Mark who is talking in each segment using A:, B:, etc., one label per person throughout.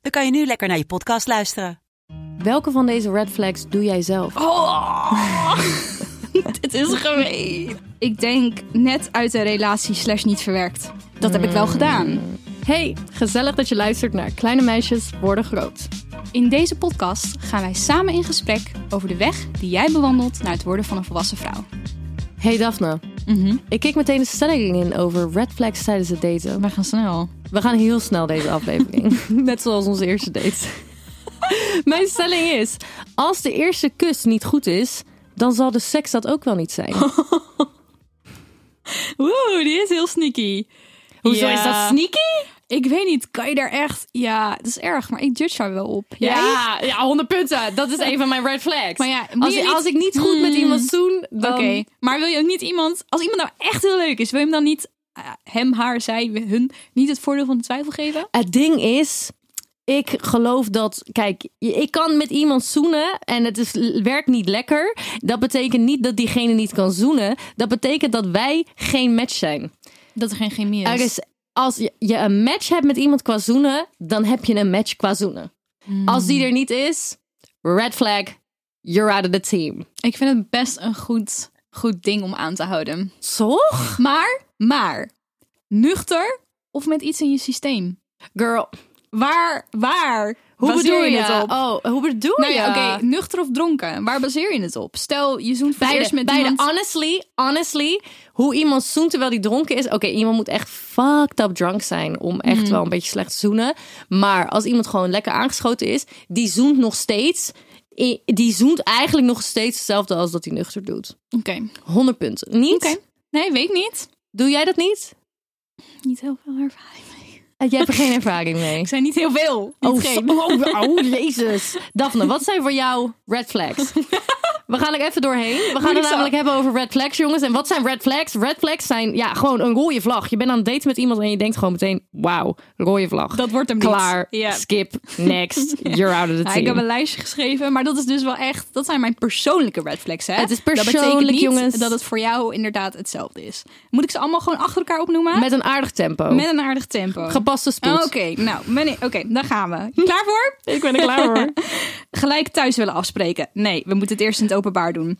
A: dan kan je nu lekker naar je podcast luisteren.
B: Welke van deze red flags doe jij zelf?
C: Het Oh. is gemeen. Ik denk net uit een relatie slash niet verwerkt. Dat heb ik wel gedaan.
B: Hey, gezellig dat je luistert naar Kleine Meisjes Worden Groot.
C: In deze podcast gaan wij samen in gesprek over de weg die jij bewandelt naar het worden van een volwassen vrouw.
B: Hey Daphne, ik kijk meteen de stelling in over red flags tijdens het daten.
C: We gaan snel.
B: We gaan heel snel deze aflevering, net zoals onze eerste date. Mijn stelling is, als de eerste kus niet goed is, dan zal de seks dat ook wel niet zijn.
C: Oeh, die is heel sneaky.
B: Hoezo
C: Ja.
B: is dat sneaky?
C: Ik weet niet, kan je daar echt... Ja, dat is erg, maar ik judge haar wel op. Jij?
B: ja, 100 punten. Dat is een van mijn red flags.
C: Maar ja, moet
B: als,
C: je niet-
B: als ik niet goed met iemand zoen, dan...
C: Oké, maar wil je ook niet iemand... Als iemand nou echt heel leuk is, wil je hem dan niet... eh, hem, haar, zij, hun niet het voordeel van de twijfel geven?
B: Het ding is, ik geloof dat, kijk, je- ik kan met iemand zoenen en het is, werkt niet lekker. Dat betekent niet dat diegene niet kan zoenen. Dat betekent dat wij geen match zijn.
C: Dat er geen chemie
B: Er is, als je, je een match hebt met iemand qua zoenen, dan heb je een match qua zoenen.
C: Hmm.
B: Als die er niet is, red flag, you're out of the team.
C: Ik vind het best een goed, goed ding om aan te houden.
B: Toch?
C: Maar, maar, nuchter of met iets in je systeem?
B: Girl,
C: Waar, waar?
B: hoe
C: baseer
B: bedoel je,
C: het
B: het
C: op?
B: Oh, hoe bedoel
C: nou
B: je?
C: ja, oké, nuchter of dronken. Waar baseer je het op? Stel, je zoent voor het
B: Beide,
C: eerst met
B: beide. Ah,
C: iemand...
B: Honestly, honestly, hoe iemand zoent terwijl hij dronken is. Oké, iemand moet echt fucked up drunk zijn om echt wel een beetje slecht te zoenen. Maar als iemand gewoon lekker aangeschoten is, die zoent nog steeds. i- Die zoent eigenlijk nog steeds hetzelfde als dat hij nuchter doet.
C: Oké,
B: 100 punten. Niet?
C: Oké. nee, weet ik niet.
B: Doe jij dat niet?
C: Niet heel veel ervaring mee.
B: Eh, Jij hebt er geen ervaring mee.
C: Ik zei niet heel veel. Niet
B: Oh,
C: geen.
B: zo- oh, oh, jezus. Daphne, wat zijn voor jou red flags? We gaan er even doorheen. We gaan het
C: ik zo?
B: namelijk hebben over red flags, jongens. En wat zijn red flags? Red flags zijn ja, gewoon een rode vlag. Je bent aan het daten met iemand en je denkt gewoon meteen... Wauw, rode vlag.
C: Dat wordt hem niet.
B: Klaar,
C: Ja.
B: skip, next, you're out of the
C: Ja,
B: team.
C: ik heb een lijstje geschreven, maar dat is dus wel echt. Dat zijn mijn persoonlijke red flags. Hè?
B: Het is
C: dat
B: persoonlijk,
C: betekent niet
B: jongens.
C: Dat het voor jou inderdaad hetzelfde is. Moet ik ze allemaal gewoon achter elkaar opnoemen?
B: Met een aardig tempo.
C: Met een aardig tempo.
B: gepaste spoed.
C: Oké, nou, ben ik- oké, daar gaan we. Klaar voor?
B: Ik ben er klaar voor.
C: Gelijk thuis willen afspreken. Nee, we moeten het eerst in het openbaar doen.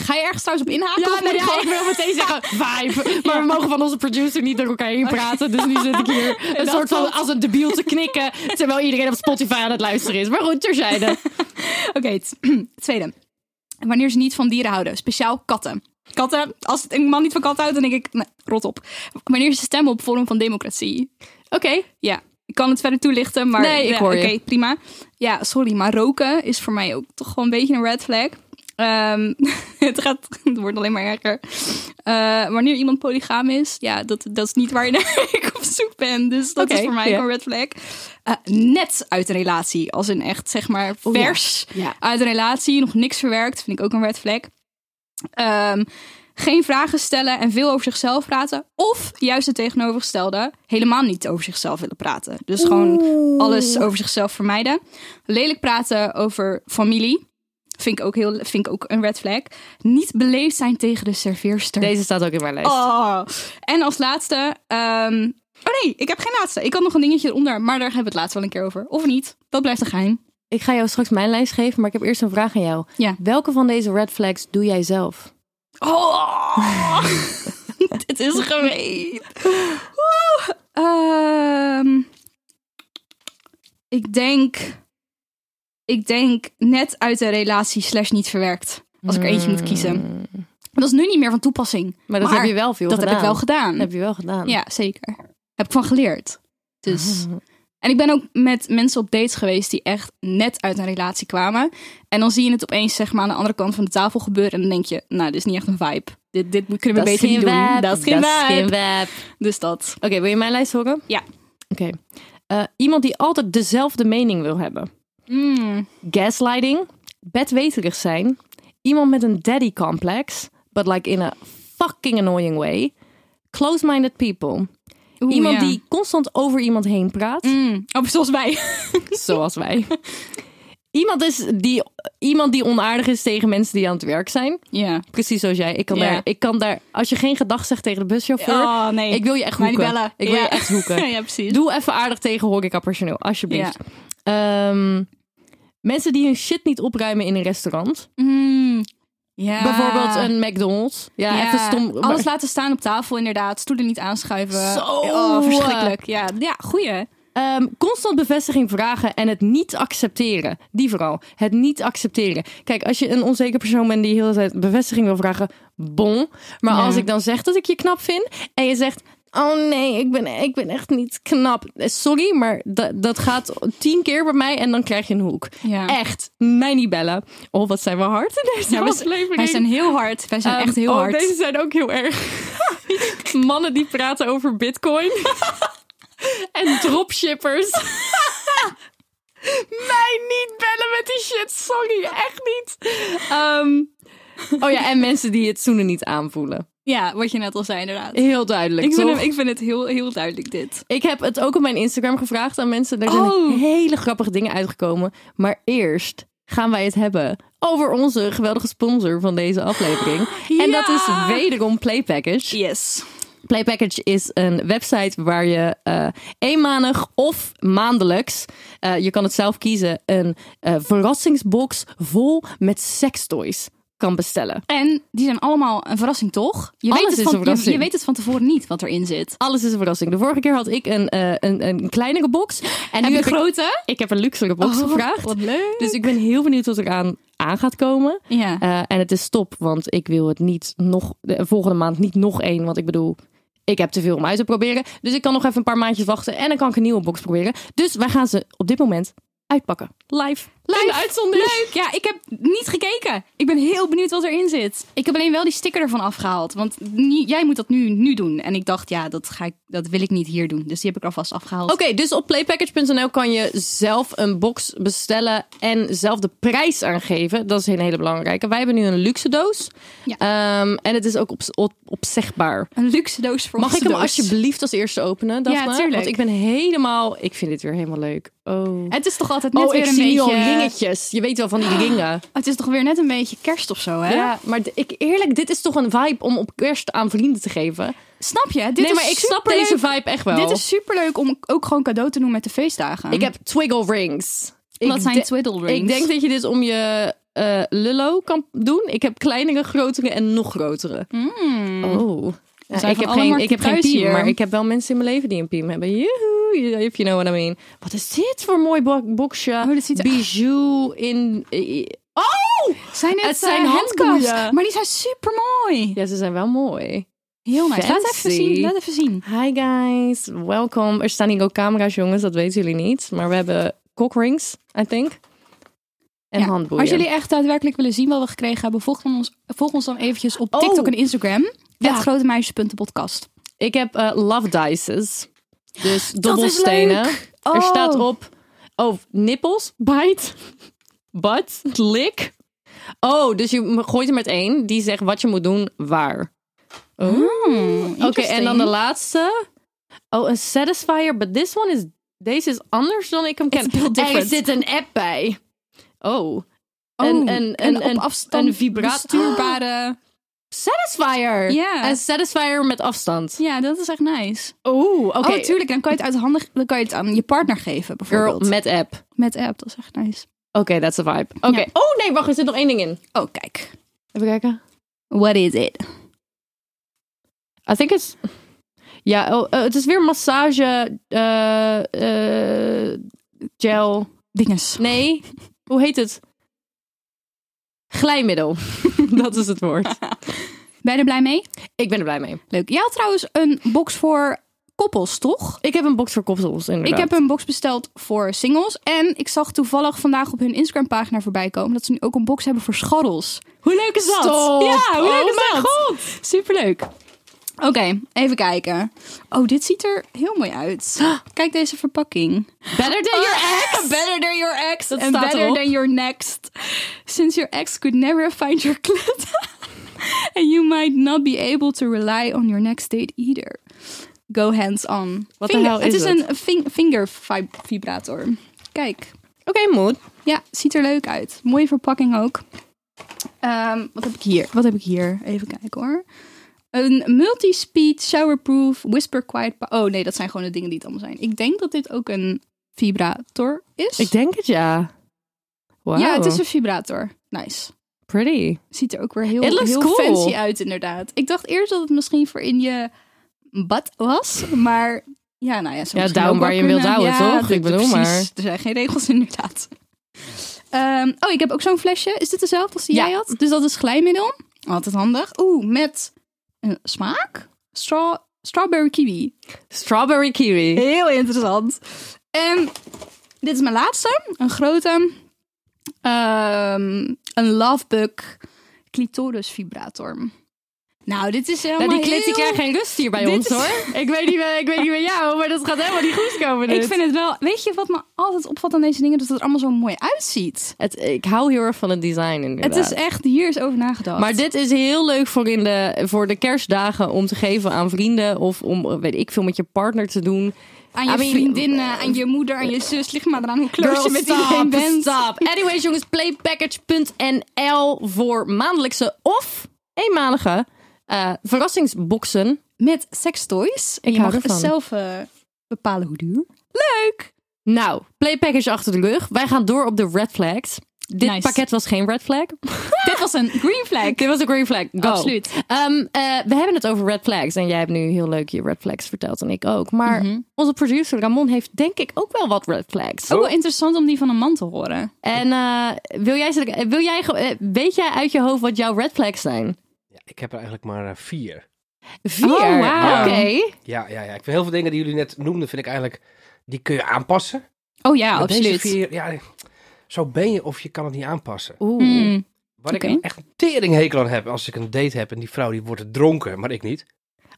C: Ga je ergens trouwens op inhaken? of
B: Ja,
C: moet
B: nee,
C: ik
B: ja,
C: gewoon-
B: ik wil meteen zeggen vibe. Maar we mogen van onze producer niet door elkaar heen praten. Dus nu zit ik hier een
C: Dat
B: soort van
C: klopt.
B: als een debiel te knikken. Terwijl iedereen op Spotify aan het luisteren is. Maar goed, terzijde.
C: Oké, het- tweede. Wanneer ze niet van dieren houden, speciaal katten. Katten, als een man niet van katten houdt, dan denk ik, nee, rot op. Wanneer ze stemmen op vorm van democratie.
B: Oké.
C: Ja, ik kan het verder toelichten, maar...
B: Nee, ik
C: ja,
B: hoor je.
C: Oké, prima. Ja, sorry, maar roken is voor mij ook toch gewoon een beetje een red flag. Ehm, het, gaat, het wordt alleen maar erger. Eh, wanneer iemand polygaam is, ja, dat, dat is niet waar je naar ik op zoek ben. Dus dat
B: Oké,
C: is voor mij
B: ja.
C: ook een red flag. Eh, net uit een relatie, als in echt, zeg maar,
B: Oh ja.
C: vers
B: Ja.
C: uit een relatie, nog niks verwerkt, vind ik ook een red flag. Ehm, geen vragen stellen en veel over zichzelf praten. Of juist het tegenovergestelde, helemaal niet over zichzelf willen praten. Dus gewoon alles over zichzelf vermijden. Lelijk praten over familie. Vind ik ook, heel, vind ik ook een red flag. Niet beleefd zijn tegen de serveerster.
B: Deze staat ook in mijn lijst.
C: Oh. En als laatste. ehm, Oh nee, ik heb geen laatste. Ik had nog een dingetje eronder, maar daar hebben we het laatst wel een keer over. Of niet? Dat blijft een geheim.
B: Ik ga jou straks mijn lijst geven, maar ik heb eerst een vraag aan jou.
C: Ja.
B: Welke van deze red flags doe jij zelf?
C: Oh, dit is gemeen. Oeh, ehm, ik denk, ik denk net uit de relatie slash niet verwerkt. Als ik er eentje moet kiezen. Dat is nu niet meer van toepassing.
B: Hmm. Maar dat heb je wel veel
C: Dat
B: gedaan.
C: heb ik wel gedaan.
B: Dat heb je wel gedaan. Hmm.
C: Ja, zeker. Heb ik van geleerd. Dus. En ik ben ook met mensen op dates geweest die echt net uit een relatie kwamen. En dan zie je het opeens zeg maar, aan de andere kant van de tafel gebeuren. En dan denk je, nou, dit is niet echt een vibe. Dit, dit kunnen we
B: Dat is
C: beter
B: geen
C: niet doen.
B: web.
C: Dat is geen
B: Dat is
C: vibe.
B: geen web.
C: Dus dat.
B: Oké, wil je mijn lijst horen?
C: Ja.
B: Oké. Eh, iemand die altijd dezelfde mening wil hebben.
C: Mm.
B: gaslighting, bedweterig zijn, iemand met een daddy complex, but like in a fucking annoying way, close-minded people,
C: Oeh,
B: iemand
C: ja.
B: die constant over iemand heen praat,
C: Mm. Oh, zoals wij.
B: zoals wij. Iemand, is die, iemand die onaardig is tegen mensen die aan het werk zijn.
C: ja.
B: Precies zoals jij. Ik kan,
C: Ja.
B: daar, ik kan daar, als je geen gedag zegt tegen de buschauffeur,
C: Oh, nee.
B: ik wil je echt
C: Mij
B: hoeken.
C: niet bellen.
B: Ik wil
C: Ja.
B: je echt hoeken.
C: ja, precies.
B: Doe even aardig tegen horecapersoneel, alsjeblieft. Ehm, mensen die hun shit niet opruimen in een restaurant.
C: Mm. Ja.
B: Bijvoorbeeld een McDonald's. Ja,
C: Ja,
B: even stom.
C: Alles laten staan op tafel, inderdaad. Stoelen niet aanschuiven.
B: Zo.
C: Oh, verschrikkelijk. Ja, ja goeie.
B: Ehm, constant bevestiging vragen en het niet accepteren. Die vooral. Het niet accepteren. Kijk, als je een onzeker persoon bent die heel de hele tijd bevestiging wil vragen, bon. Maar
C: Ja.
B: als ik dan zeg dat ik je knap vind en je zegt. Oh nee, ik ben, ik ben echt niet knap. Eh, Sorry, maar dat, dat gaat tien keer bij mij en dan krijg je een hoek.
C: Ja.
B: Echt, mij niet bellen. Oh, wat zijn we hard in deze
C: wij,
B: aflevering.
C: wij zijn heel hard. Wij zijn
B: Ehm,
C: echt heel
B: oh,
C: hard.
B: Deze zijn ook heel erg. Mannen die praten over bitcoin. en dropshippers. Mij niet bellen met die shit. Sorry, echt niet. Ehm, oh ja, en mensen die het zoenen niet aanvoelen.
C: Ja, wat je net al zei, inderdaad.
B: Heel duidelijk,
C: Ik
B: toch?
C: vind, hem, ik vind het heel, heel duidelijk, dit.
B: Ik heb het ook op mijn Instagram gevraagd aan mensen. Daar zijn
C: Oh.
B: hele grappige dingen uitgekomen. Maar eerst gaan wij het hebben over onze geweldige sponsor van deze aflevering. En dat is
C: Ja.
B: wederom Play Package.
C: Yes.
B: Play Package is een website waar je eh, eenmalig of maandelijks, eh, je kan het zelf kiezen, een eh, verrassingsbox vol met sextoys kan bestellen.
C: En die zijn allemaal een verrassing, toch? Je,
B: Alles
C: weet het
B: is
C: van,
B: een verrassing.
C: Je, je weet het van tevoren niet wat erin zit.
B: Alles is een verrassing. De vorige keer had ik een, eh, een, een kleinere box. En nu
C: je
B: heb ik-
C: grote?
B: Ik, heb een luxere box
C: Oh,
B: gevraagd.
C: wat leuk.
B: Dus ik ben heel benieuwd wat eraan aan gaat komen.
C: Ja.
B: Eh, en het is top, want ik wil het niet nog de volgende maand niet nog één. Want ik bedoel, ik heb te veel om uit te proberen. Dus ik kan nog even een paar maandjes wachten en dan kan ik een nieuwe box proberen. Dus wij gaan ze op dit moment uitpakken. Live.
C: Live.
B: In de uitzondering.
C: Leuk. Ja, ik heb niet gekeken. Ik ben heel benieuwd wat erin zit. Ik heb alleen wel die sticker ervan afgehaald. Want ni- jij moet dat nu, nu doen. En ik dacht, ja, dat, ga ik, dat wil ik niet hier doen. Dus die heb ik er alvast afgehaald.
B: Oké, dus op playpackage.nl kan je zelf een box bestellen en zelf de prijs aangeven. Dat is een hele belangrijke. Wij hebben nu een luxe doos.
C: Ja.
B: Ehm, en het is ook op, op, opzegbaar.
C: Een luxe doos voor
B: Mag
C: onze
B: ik hem
C: doos.
B: alsjeblieft als eerste openen, Daphne?
C: tuurlijk.
B: Want ik ben helemaal... Ik vind dit weer helemaal leuk. Oh.
C: Het is toch altijd net weer
B: ik
C: een
B: zie nu
C: beetje...
B: al ringetjes. Je weet wel van die ringen.
C: Het is toch weer net een beetje kerst of zo, hè?
B: Ah. Ja, maar d- ik, eerlijk, dit is toch een vibe om op kerst aan vrienden te geven?
C: Snap je? Dit
B: nee,
C: is
B: maar ik snap
C: superleuk.
B: deze vibe echt wel.
C: Dit is superleuk om ook gewoon cadeau te doen met de feestdagen.
B: Ik heb twiggle rings.
C: Wat
B: Ik
C: zijn
B: de-
C: twiddle rings?
B: Ik denk dat je dit om je eh, lullo kan doen. Ik heb kleinere, grotere en nog grotere. Oh. Ja,
C: Hmm. zijn
B: ik
C: van
B: heb,
C: alle
B: geen,
C: markten
B: ik heb geen
C: thuis
B: piem,
C: hier.
B: maar ik heb wel mensen in mijn leven die een piem hebben. Joehoe, if you know what I mean. Wat is dit voor mooi bo- boxje?
C: dat Oh, ziet er-
B: Bijou in... Oh!
C: Zijn het,
B: Het zijn
C: eh, handcuffs?
B: handboeien.
C: Maar die zijn super mooi.
B: Ja, ze zijn wel mooi.
C: Heel nice. Laat
B: Fancy.
C: even zien. Laat even zien.
B: Hi guys, welkom. Er staan hier ook camera's, jongens, dat weten jullie niet. Maar we hebben cockrings, I think. En
C: Ja.
B: handboeien.
C: Als jullie echt daadwerkelijk willen zien wat we gekregen hebben, volg dan ons, volg ons dan eventjes op
B: Oh.
C: TikTok en Instagram.
B: Ja.
C: Het grote meisjes.podcast.
B: Ik heb eh, love dices. Dus dobbelstenen.
C: Oh.
B: Er staat op. Oh, nippels. Bite. Butt. Lick. Oh, dus je m- gooit er met één. Die zegt wat je moet doen, waar. Oh.
C: Mm,
B: Oké, en dan de laatste. Oh, een satisfier. But this one is... Deze is anders dan ik hem ken.
C: It's a bit
B: er
C: different.
B: zit een app bij. Oh. een, een, een, een,
C: op afstand
B: een vibraat-
C: bestuurbare.
B: Satisfier.
C: Ja.
B: Een satisfier met afstand.
C: Ja, dat is echt nice.
B: Oeh, oké.
C: Oh, tuurlijk. Dan kan je het uit handen, dan kan je het aan je partner
B: Girl
C: geven, bijvoorbeeld.
B: met app.
C: met app, dat is echt nice.
B: Oké, that's a vibe. Oké.
C: Ja.
B: Oh nee, wacht, er zit nog één ding in.
C: Oh, kijk.
B: Even kijken.
C: What is it?
B: I think it's... Ja, oh, eh, het is weer massage... eh, eh, gel.
C: Dinges.
B: Nee, hoe heet het? Glijmiddel. Dat is het woord.
C: Ben je er blij mee?
B: Ik ben er blij mee.
C: Leuk. Jij had trouwens een box voor koppels, toch?
B: Ik heb een box voor koppels
C: Ik
B: inderdaad.
C: heb een box besteld voor singles. En ik zag toevallig vandaag op hun Instagram-pagina voorbij komen dat ze nu ook een box hebben voor scharrels. Hoe leuk is dat?
B: Stop.
C: Ja, hoe leuk
B: Oh
C: is
B: mijn
C: dat? Superleuk. Oké, even kijken. Oh, dit ziet er heel mooi uit. Kijk deze verpakking.
B: Better than your ex.
C: Better than your ex.
B: Dat
C: and
B: staat
C: better
B: erop.
C: than your next. Since your ex could never find your clit. and you might not be able to rely on your next date either. Go hands on.
B: Wat de
C: Finger-
B: hel
C: het?
B: is
C: is
B: het?
C: een ving- finger vi- vibrator. Kijk.
B: Oké, moed.
C: Ja, ziet er leuk uit. Mooie verpakking ook. Ehm, wat heb ik hier? Wat heb ik hier? Even kijken hoor. Een multi-speed, showerproof, whisper quiet... pa- Oh nee, dat zijn gewoon de dingen die het allemaal zijn. Ik denk dat dit ook een vibrator is.
B: Ik denk het ja. Wow.
C: Ja, het is een vibrator. Nice.
B: pretty.
C: Ziet er ook weer heel,
B: It looks
C: heel
B: cool.
C: fancy uit inderdaad. Ik dacht eerst dat het misschien voor in je bad was, maar... Ja, nou ja, zo
B: Ja,
C: misschien
B: down
C: ook
B: waar
C: wel
B: je wilt
C: kunnen.
B: houden,
C: Ja,
B: toch? Ik
C: d- d-
B: bedoel
C: precies.
B: maar.
C: Er zijn geen regels inderdaad. Ehm, oh, ik heb ook zo'n flesje. Is dit dezelfde als die
B: Ja.
C: jij had? Dus dat is glijmiddel. Altijd handig. Oeh, met een smaak? Straw, strawberry kiwi.
B: Strawberry kiwi.
C: Heel interessant. En dit is mijn laatste. Een grote. Ehm, een Lovebug clitoris vibrator. Nou, dit is helemaal
B: Nou, die klit die
C: heel-
B: krijgt geen rust hier bij
C: Dit
B: ons
C: is-
B: hoor. Ik weet, niet, bij- ik weet niet bij jou, maar dat gaat helemaal niet goed komen.
C: Ik
B: dit.
C: vind het wel... Weet je wat me altijd opvalt aan deze dingen? Dat het er allemaal zo mooi uitziet.
B: Het, ik hou heel erg van het design inderdaad.
C: Het is echt... Hier is over nagedacht.
B: Maar dit is heel leuk voor, in de, voor de kerstdagen om te geven aan vrienden of om, eh, weet ik veel, met je partner te doen.
C: aan je
B: I mean, eh,
C: vriendinnen, aan je moeder, aan je zus. Ligt maar eraan hoe close
B: Girl,
C: je met
B: stop,
C: iedereen bent.
B: stop. Anyways jongens, playpackage.nl voor maandelijkse of eenmalige eh, verrassingsboxen.
C: Met sekstoys. En
B: Ik
C: je
B: hou
C: mag
B: ervan.
C: zelf eh, bepalen hoe duur. Leuk!
B: Nou, playpackage achter de rug. Wij gaan door op de red flags. Dit
C: Nice.
B: pakket was geen red flag.
C: Dit was een green flag. Oh.
B: Dit was een green flag. Go.
C: Absoluut.
B: Ehm, eh, we hebben het over red flags. En jij hebt nu heel leuk je red flags verteld. En ik ook. Maar onze producer Ramon heeft denk ik ook wel wat red flags.
D: Oh.
C: Ook wel interessant om die van een man te horen.
B: En eh, wil jij, ze- eh, wil jij, ge- eh, weet jij uit je hoofd wat jouw red flags zijn?
D: Ja, ik heb er eigenlijk maar eh, vier.
B: Vier.
C: Oh, wauw.
B: Oké.
D: Ja, ja, ja. Ik vind heel veel dingen die jullie net noemden, vind ik eigenlijk, die kun je aanpassen.
C: Oh ja,
D: Maar
C: absoluut.
D: Deze vier, ja, zo ben je of je kan het niet aanpassen.
B: Oeh.
C: Hmm.
D: Waar
C: Oké.
D: ik echt een teringhekel aan heb als ik een date heb en die vrouw die wordt dronken, maar ik niet.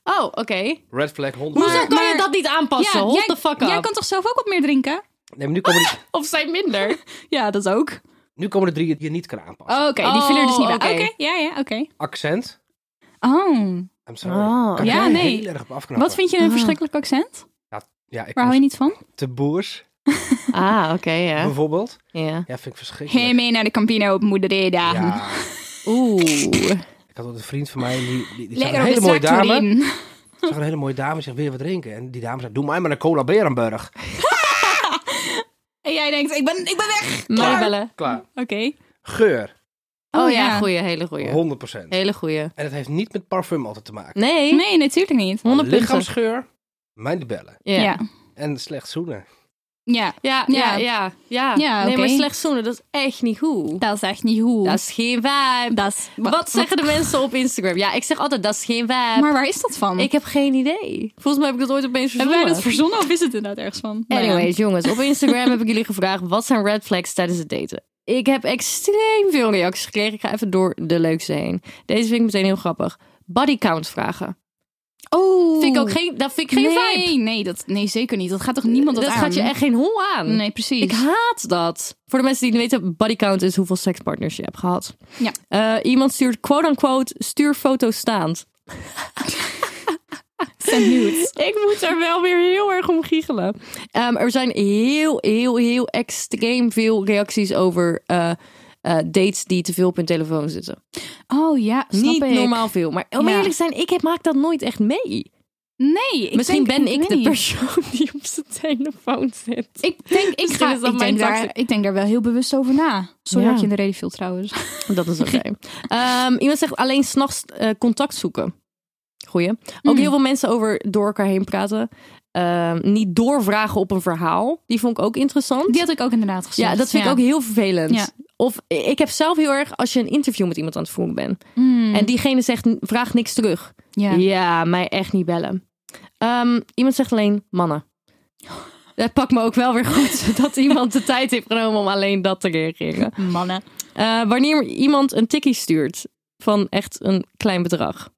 B: Oh, oké.
D: Red flag 100.
B: Hoezo
C: Maar-
B: kan je
C: maar-
B: dat niet aanpassen? Hold
C: jij,
B: the fuck up.
C: jij kan toch zelf ook wat meer drinken?
D: Nee, maar nu komen, die-
B: Of zijn minder?
C: Ja, dat ook.
D: nu komen de drie die je niet kan aanpassen.
C: Oké, die
B: Oh,
C: viel er dus niet bij.
B: oké.
C: Oké, ja, ja, oké.
D: Accent.
C: Oh,
D: I'm sorry.
B: Oh.
D: Kan ik
C: Ja,
D: daar
C: nee.
D: Heel erg op afknappen.
C: wat vind je een
B: Ah.
C: verschrikkelijk accent?
D: Ja, ik
C: Waar hou je niet van?
D: moest te boers,
B: Ah, oké,
D: Oh.
B: ja.
D: bijvoorbeeld.
B: ja.
D: Ja, vind ik verschrikkelijk.
C: Geen mee naar de Campino op Modereda.
D: Ja,
B: Oeh.
D: ik had ook een vriend van mij, die, die, die zag
C: Lekker
D: een
C: op de
D: hele mooie
C: tractor
D: dame.
C: in.
D: zag een hele mooie dame, zegt, wil je wat drinken? En die dame zei, doe mij maar een cola Berenburg.
C: En jij denkt, ik ben, ik ben weg.
B: Maar bellen.
D: Klaar.
C: Oké.
D: Geur,
B: Oh, ja, goeie, hele goeie.
D: 100%.
B: Hele goeie.
D: En dat heeft niet met parfum altijd te maken.
B: Nee.
C: Nee, natuurlijk niet.
B: 100 punten.
D: Lichaamsgeur, mijn de bellen.
B: Ja.
C: Ja.
B: Ja.
D: En slecht zoenen.
C: Ja,
B: Ja, ja,
C: Ja.
B: ja. ja.
C: Ja,
B: nee,
C: oké.
B: maar slecht zoenen, dat is echt niet goed.
C: dat is echt niet hoe.
B: Dat is geen vibe.
C: Dat is-
B: Wat,
C: wat-
B: zeggen de mensen op Instagram? Ja, ik zeg altijd, dat is geen vibe.
C: Maar waar is dat van?
B: Ik heb geen idee. Volgens mij heb ik dat ooit opeens
C: Hebben
B: verzonnen.
C: wij dat verzonnen of is het inderdaad ergens van? Nou ja.
B: Anyways, jongens, op Instagram heb ik jullie gevraagd wat zijn red flags tijdens het daten. Ik heb extreem veel reacties gekregen. Ik ga even door de leukste heen. Deze vind ik meteen heel grappig. Bodycount vragen.
C: Oh.
B: Vind ik ook geen, dat vind ik geen
C: nee,
B: vibe.
C: Nee, dat, nee, zeker niet. Dat gaat toch niemand dat,
B: dat
C: aan?
B: gaat je echt geen hol aan.
C: Nee, precies.
B: Ik haat dat. Voor de mensen die niet weten, bodycount is hoeveel sekspartners je hebt gehad.
C: Ja.
B: Eh, iemand stuurt quote-unquote, stuur foto's staand.
C: Send nudes.
B: Ik moet er wel weer heel erg om giechelen. Ehm, er zijn heel, heel, heel extreem veel reacties over eh, eh, dates die te veel op hun telefoon zitten.
C: Oh ja, snap
B: Niet
C: ik.
B: normaal veel. Maar om
C: Ja.
B: eerlijk te zijn, ik heb, maak dat nooit echt mee.
C: Nee, ik
B: Misschien
C: denk-
B: ben ik de
C: nee.
B: persoon die op zijn telefoon zit.
C: Ik denk, ik
B: Misschien
C: ga,
B: is dat
C: ik,
B: mijn
C: denk daar,
B: tactiek.
C: ik denk daar wel heel bewust over na. Sorry
B: Ja.
C: dat je in de reden viel trouwens.
B: Dat is oké. Ehm, iemand zegt alleen s'nachts eh contact zoeken. Goeie. Ook
C: Mhm.
B: heel veel mensen over door elkaar heen praten. Ehm, niet doorvragen op een verhaal. Die vond ik ook interessant.
C: Die had ik ook inderdaad gezien.
B: ja, dat vind ik ook heel vervelend.
C: Ja.
B: Of ik heb zelf heel erg, als je een interview met iemand aan het voeren bent. En diegene zegt, vraag niks terug. Mm. Ja,
C: Mm. Ja.
B: mij echt niet bellen. Ehm, iemand zegt alleen mannen. Dat pakt me ook wel weer goed dat iemand de tijd heeft genomen om alleen dat te reageren.
C: Mannen.
B: Eh, wanneer iemand een tikkie stuurt van echt een klein bedrag.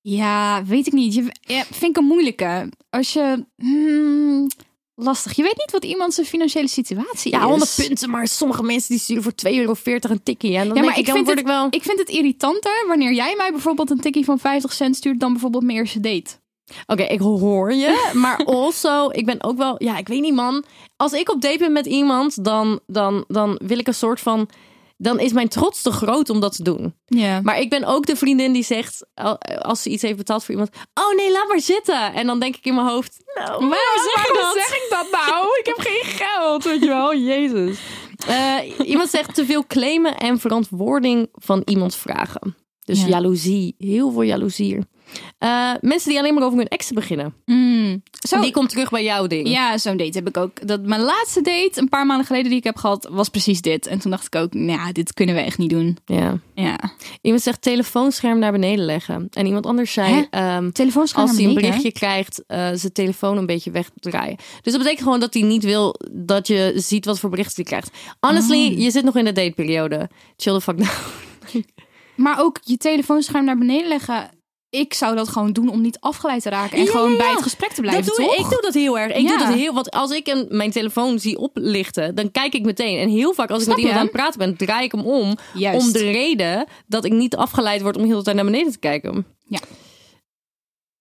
C: Ja, weet ik niet. Je, ja, vind ik een moeilijke. Als je... hmm, lastig. Je weet niet wat iemand zijn financiële situatie is.
B: Ja, 100 punten, maar sommige mensen die sturen voor 2,40 euro een tikkie. En dan ja, maar ik, dan
C: vind
B: word
C: het,
B: ik wel...
C: ik vind het irritanter wanneer jij mij bijvoorbeeld een tikkie van 50 cent stuurt dan bijvoorbeeld mijn eerste date.
B: Oké, ik hoor je. Maar also, ik ben ook wel... Ja, ik weet niet, man. Als ik op date ben met iemand, dan, dan, dan wil ik een soort van... Dan is mijn trots te groot om dat te doen.
C: Ja. Maar
B: Maar ik ben ook de vriendin die zegt, al- als ze iets heeft betaald voor iemand... Oh nee, laat maar zitten. En dan denk ik in mijn hoofd... Nou, waarom, zeg je dat?
C: ik dat nou? Ik heb geen geld.
B: Weet je wel, jezus. Eh, iemand zegt te veel claimen en verantwoording van iemand vragen. Dus
C: Ja.
B: jaloezie, heel veel jaloezie. hier. Eh, mensen die alleen maar over hun exen beginnen.
C: Hmm. Zo,
B: Die komt terug bij jouw ding.
C: ja, zo'n date heb ik ook. Dat mijn laatste date, een paar maanden geleden die ik heb gehad, was precies dit. En toen dacht ik ook, nou, dit kunnen we echt niet doen.
B: Ja.
C: Ja.
B: Iemand zegt telefoonscherm naar beneden leggen. En iemand anders zei, ehm,
C: Telefoons
B: als hij een berichtje krijgt, eh, zijn telefoon een beetje wegdraaien. Dus dat betekent gewoon dat hij niet wil dat je ziet wat voor berichten hij krijgt. Honestly,
C: Ah.
B: je zit nog in de dateperiode. Chill the fuck down.
C: Maar ook je telefoonscherm naar beneden leggen. Ik zou dat gewoon doen om niet afgeleid te raken en
B: Ja,
C: gewoon
B: ja, ja.
C: bij het gesprek te blijven,
B: dat doe
C: toch?
B: Ik, ik doe dat heel erg. Ik
C: Ja.
B: doe dat heel, want als ik een, mijn telefoon zie oplichten, dan kijk ik meteen. En heel vaak als ik
C: Snap
B: met iemand
C: je?
B: aan het praten ben, draai ik hem om.
C: Juist.
B: Om de reden dat ik niet afgeleid word om heel de tijd naar beneden te kijken.
C: Ja.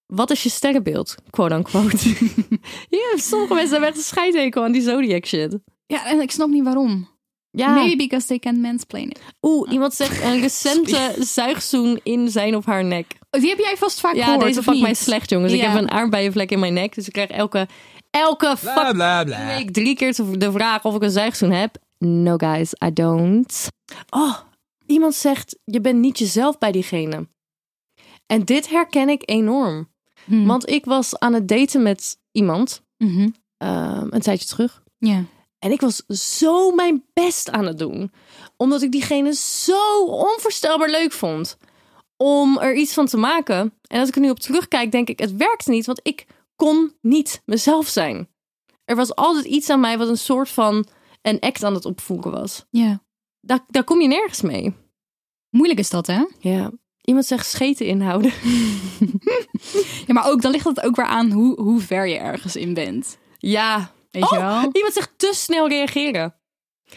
B: Wat is je sterrenbeeld? Quote unquote. ja, sommige mensen hebben echt een scheidhekel aan die zodiac shit.
C: Ja, en ik snap niet waarom.
B: Ja.
C: Maybe because they can mansplain it.
B: Oeh, iemand zegt een recente zuigzoen in zijn of haar nek.
C: Die heb jij vast vaak
B: Ja,
C: gehoord,
B: deze
C: of
B: pakt
C: niet?
B: mij slecht, jongens. Ik
C: Ja.
B: heb een aardbeienvlek in mijn nek. Dus ik krijg elke, elke fuck week drie keer te- de vraag of ik een zuigzoen heb. No, guys, I don't. Oh, iemand zegt, je bent niet jezelf bij diegene. En dit herken ik enorm.
C: Hmm.
B: Want ik was aan het daten met iemand,
C: Mhm.
B: ehm, een tijdje terug.
C: Ja.
B: En ik was zo mijn best aan het doen. Omdat ik diegene zo onvoorstelbaar leuk vond. Om er iets van te maken. En als ik er nu op terugkijk, denk ik, het werkte niet. Want ik kon niet mezelf zijn. Er was altijd iets aan mij wat een soort van een act aan het opvoeren was.
C: ja.
B: Daar, daar kom je nergens mee.
C: Moeilijk is dat, hè?
B: Ja. Iemand zegt scheten inhouden.
C: Ja, maar ook, dan ligt het ook weer aan hoe, hoe ver je ergens in bent.
B: Ja.
C: Weet je wel?
B: Oh, Iemand zegt te snel reageren.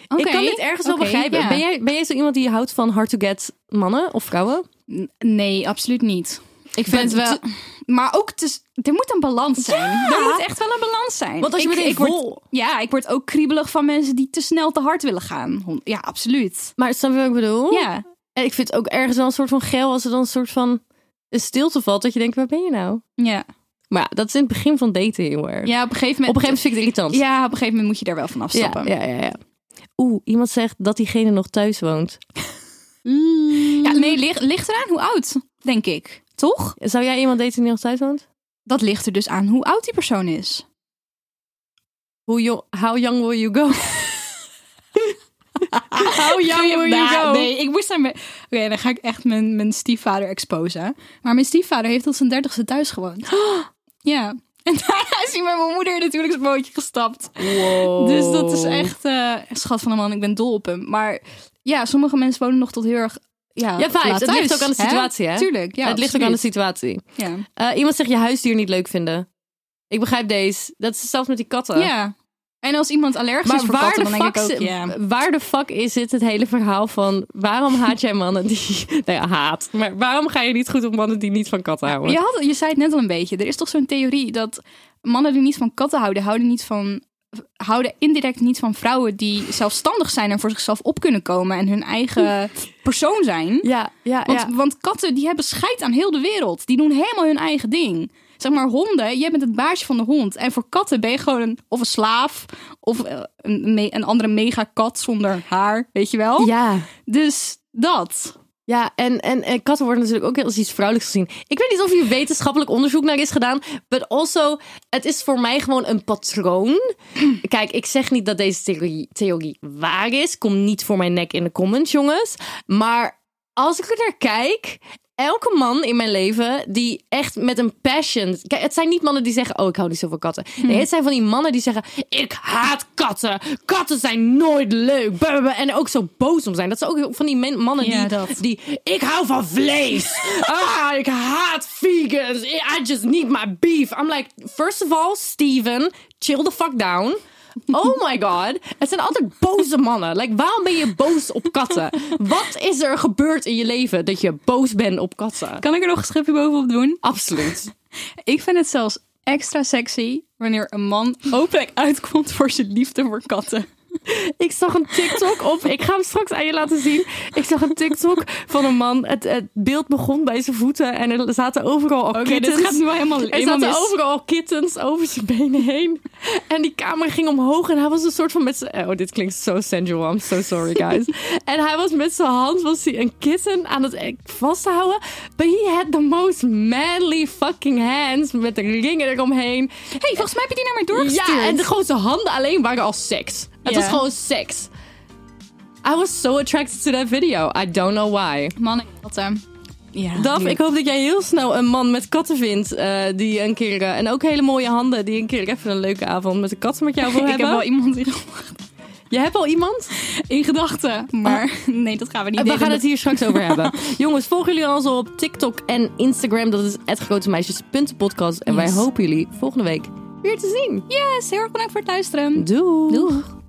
C: Oké.
B: Ik kan dit ergens wel
C: Oké,
B: begrijpen.
C: ja.
B: Ben, jij, ben jij zo iemand die houdt van hard to get mannen of vrouwen?
C: Nee, absoluut niet. Ik vind het wel... Maar ook, te... er moet een balans zijn. Er moet echt wel een balans zijn.
B: Want als je
C: ik,
B: meteen
C: ik word-
B: vol-
C: Ja, ik word ook kriebelig van mensen die te snel te hard willen gaan. Hon- Ja, absoluut.
B: Maar snap je wat ik bedoel?
C: Ja.
B: En ik vind het ook ergens wel een soort van geil als er dan een soort van een stilte valt. Dat je denkt, waar ben je nou?
C: Ja.
B: Maar ja, dat is in het begin van daten heel erg.
C: ja, op een gegeven moment...
B: Op een gegeven moment vind ik het irritant.
C: Ja, op een gegeven moment moet je daar wel van afstappen.
B: ja, ja, ja, ja. Oeh, iemand zegt dat diegene nog thuis woont.
C: Ja, nee, ligt, ligt eraan hoe oud, denk ik. Toch?
B: Zou jij iemand daten die nog thuis woont?
C: Dat ligt er dus aan hoe oud die persoon is.
B: Hoe jo- how young will you go? how young
C: Geen-
B: will you
C: Nou,
B: go?
C: Nee, ik moest daar... me- Oké, dan ga ik echt mijn, mijn stiefvader exposen. Maar mijn stiefvader heeft tot zijn dertigste thuis gewoond. Ja. En daarna is hij met mijn moeder natuurlijk het bootje gestapt.
B: Wow.
C: Dus dat is echt... eh, schat van een man, ik ben dol op hem. Maar ja, sommige mensen wonen nog tot heel erg... Ja,
B: Ja, vibes.
C: laat
B: Het
C: thuis,
B: ligt ook aan de situatie, hè?
C: Tuurlijk, ja.
B: het ligt ook aan de situatie.
C: situatie.
B: Eh, iemand zegt je huisdier niet leuk vinden. Ik begrijp deze. Dat is hetzelfde met die katten.
C: Ja. ja. En als iemand allergisch is
B: Maar
C: voor
B: waar,
C: katten,
B: de
C: dan denk
B: fuck
C: ik ook...
B: zi-
C: ja.
B: waar de fuck is dit het hele verhaal van waarom haat jij mannen die. Nou ja, haat. Maar waarom ga je niet goed op mannen die niet van katten houden?
C: Je, had, je zei het net al een beetje. Er is toch zo'n theorie dat mannen die niet van katten houden, houden, niet van, houden indirect niet van vrouwen die zelfstandig zijn en voor zichzelf op kunnen komen en hun eigen persoon zijn.
B: ja, ja.
C: Want,
B: ja.
C: want katten die hebben scheid aan heel de wereld. Die doen helemaal hun eigen ding. Zeg maar honden, jij bent het baasje van de hond. En voor katten ben je gewoon een, of een slaaf of eh, een, me- een andere mega kat zonder haar, weet je wel?
B: Ja,
C: Dus dat.
B: ja en, en, en katten worden natuurlijk ook als iets vrouwelijks gezien. Ik weet niet of hier wetenschappelijk onderzoek naar is gedaan. But also, het is voor mij gewoon een patroon. Kijk, ik zeg niet dat deze theorie, theorie waar is. Kom niet voor mijn nek in de comments, jongens. Maar als ik er naar kijk elke man in mijn leven die echt met een passion. Kijk, het zijn niet mannen die zeggen: Oh, ik hou niet zoveel katten.
C: Hmm.
B: Nee, het zijn van die mannen die zeggen: Ik haat katten. Katten zijn nooit leuk. Bah, bah, bah. En ook zo boos om zijn. Dat zijn ook van die men- mannen
C: Ja, dat.
B: die, die. Ik hou van vlees. ah, ik haat vegans. I just need my beef. I'm like, first of all, Steven, chill the fuck down. Oh my god. Het zijn altijd boze mannen. Like, waarom ben je boos op katten? Wat is er gebeurd in je leven dat je boos bent op katten?
C: Kan ik er nog een schipje bovenop doen?
B: Absoluut.
C: Ik vind het zelfs extra sexy wanneer een man openlijk uitkomt voor zijn liefde voor katten.
B: Ik zag een TikTok op. Ik ga hem straks aan je laten zien. Ik zag een TikTok van een man. Het, het beeld begon bij zijn voeten en er zaten overal al
C: Oké, dit
B: kittens.
C: gaat nu wel helemaal,
B: Er
C: helemaal
B: zaten
C: mis.
B: overal kittens over zijn benen heen. En die camera ging omhoog en hij was een soort van met zijn... Oh, dit klinkt zo sensual. I'm so sorry, guys. en hij was met zijn hand was hij een kitten aan het eh, vasthouden. But he had the most manly fucking hands met de ringen eromheen.
C: hey, volgens mij heb je die naar mij doorgestuurd.
B: Ja, en de, gewoon zijn handen alleen waren al seks. Het
C: Ja.
B: was gewoon seks. I was so attracted to that video. I don't know why.
C: mannen en katten. Ja,
B: Daf, ik hoop dat jij heel snel een man met katten vindt. eh, die een keer. eh, en ook hele mooie handen. Die een keer even een leuke avond met de katten met jou wil
C: ik
B: hebben.
C: heb wel iemand in,
B: Je hebt al iemand?
C: in gedachten, maar nee, dat gaan we niet
B: Ah. We
C: delen.
B: gaan het hier straks over hebben. Jongens, volgen jullie ons op TikTok en Instagram. Dat is hetgrotemeisjes.podcast. En wij
C: Yes.
B: hopen jullie volgende week weer te zien.
C: Eh, Yes, heel erg bedankt voor het luisteren.
B: Doei.
C: Doeg.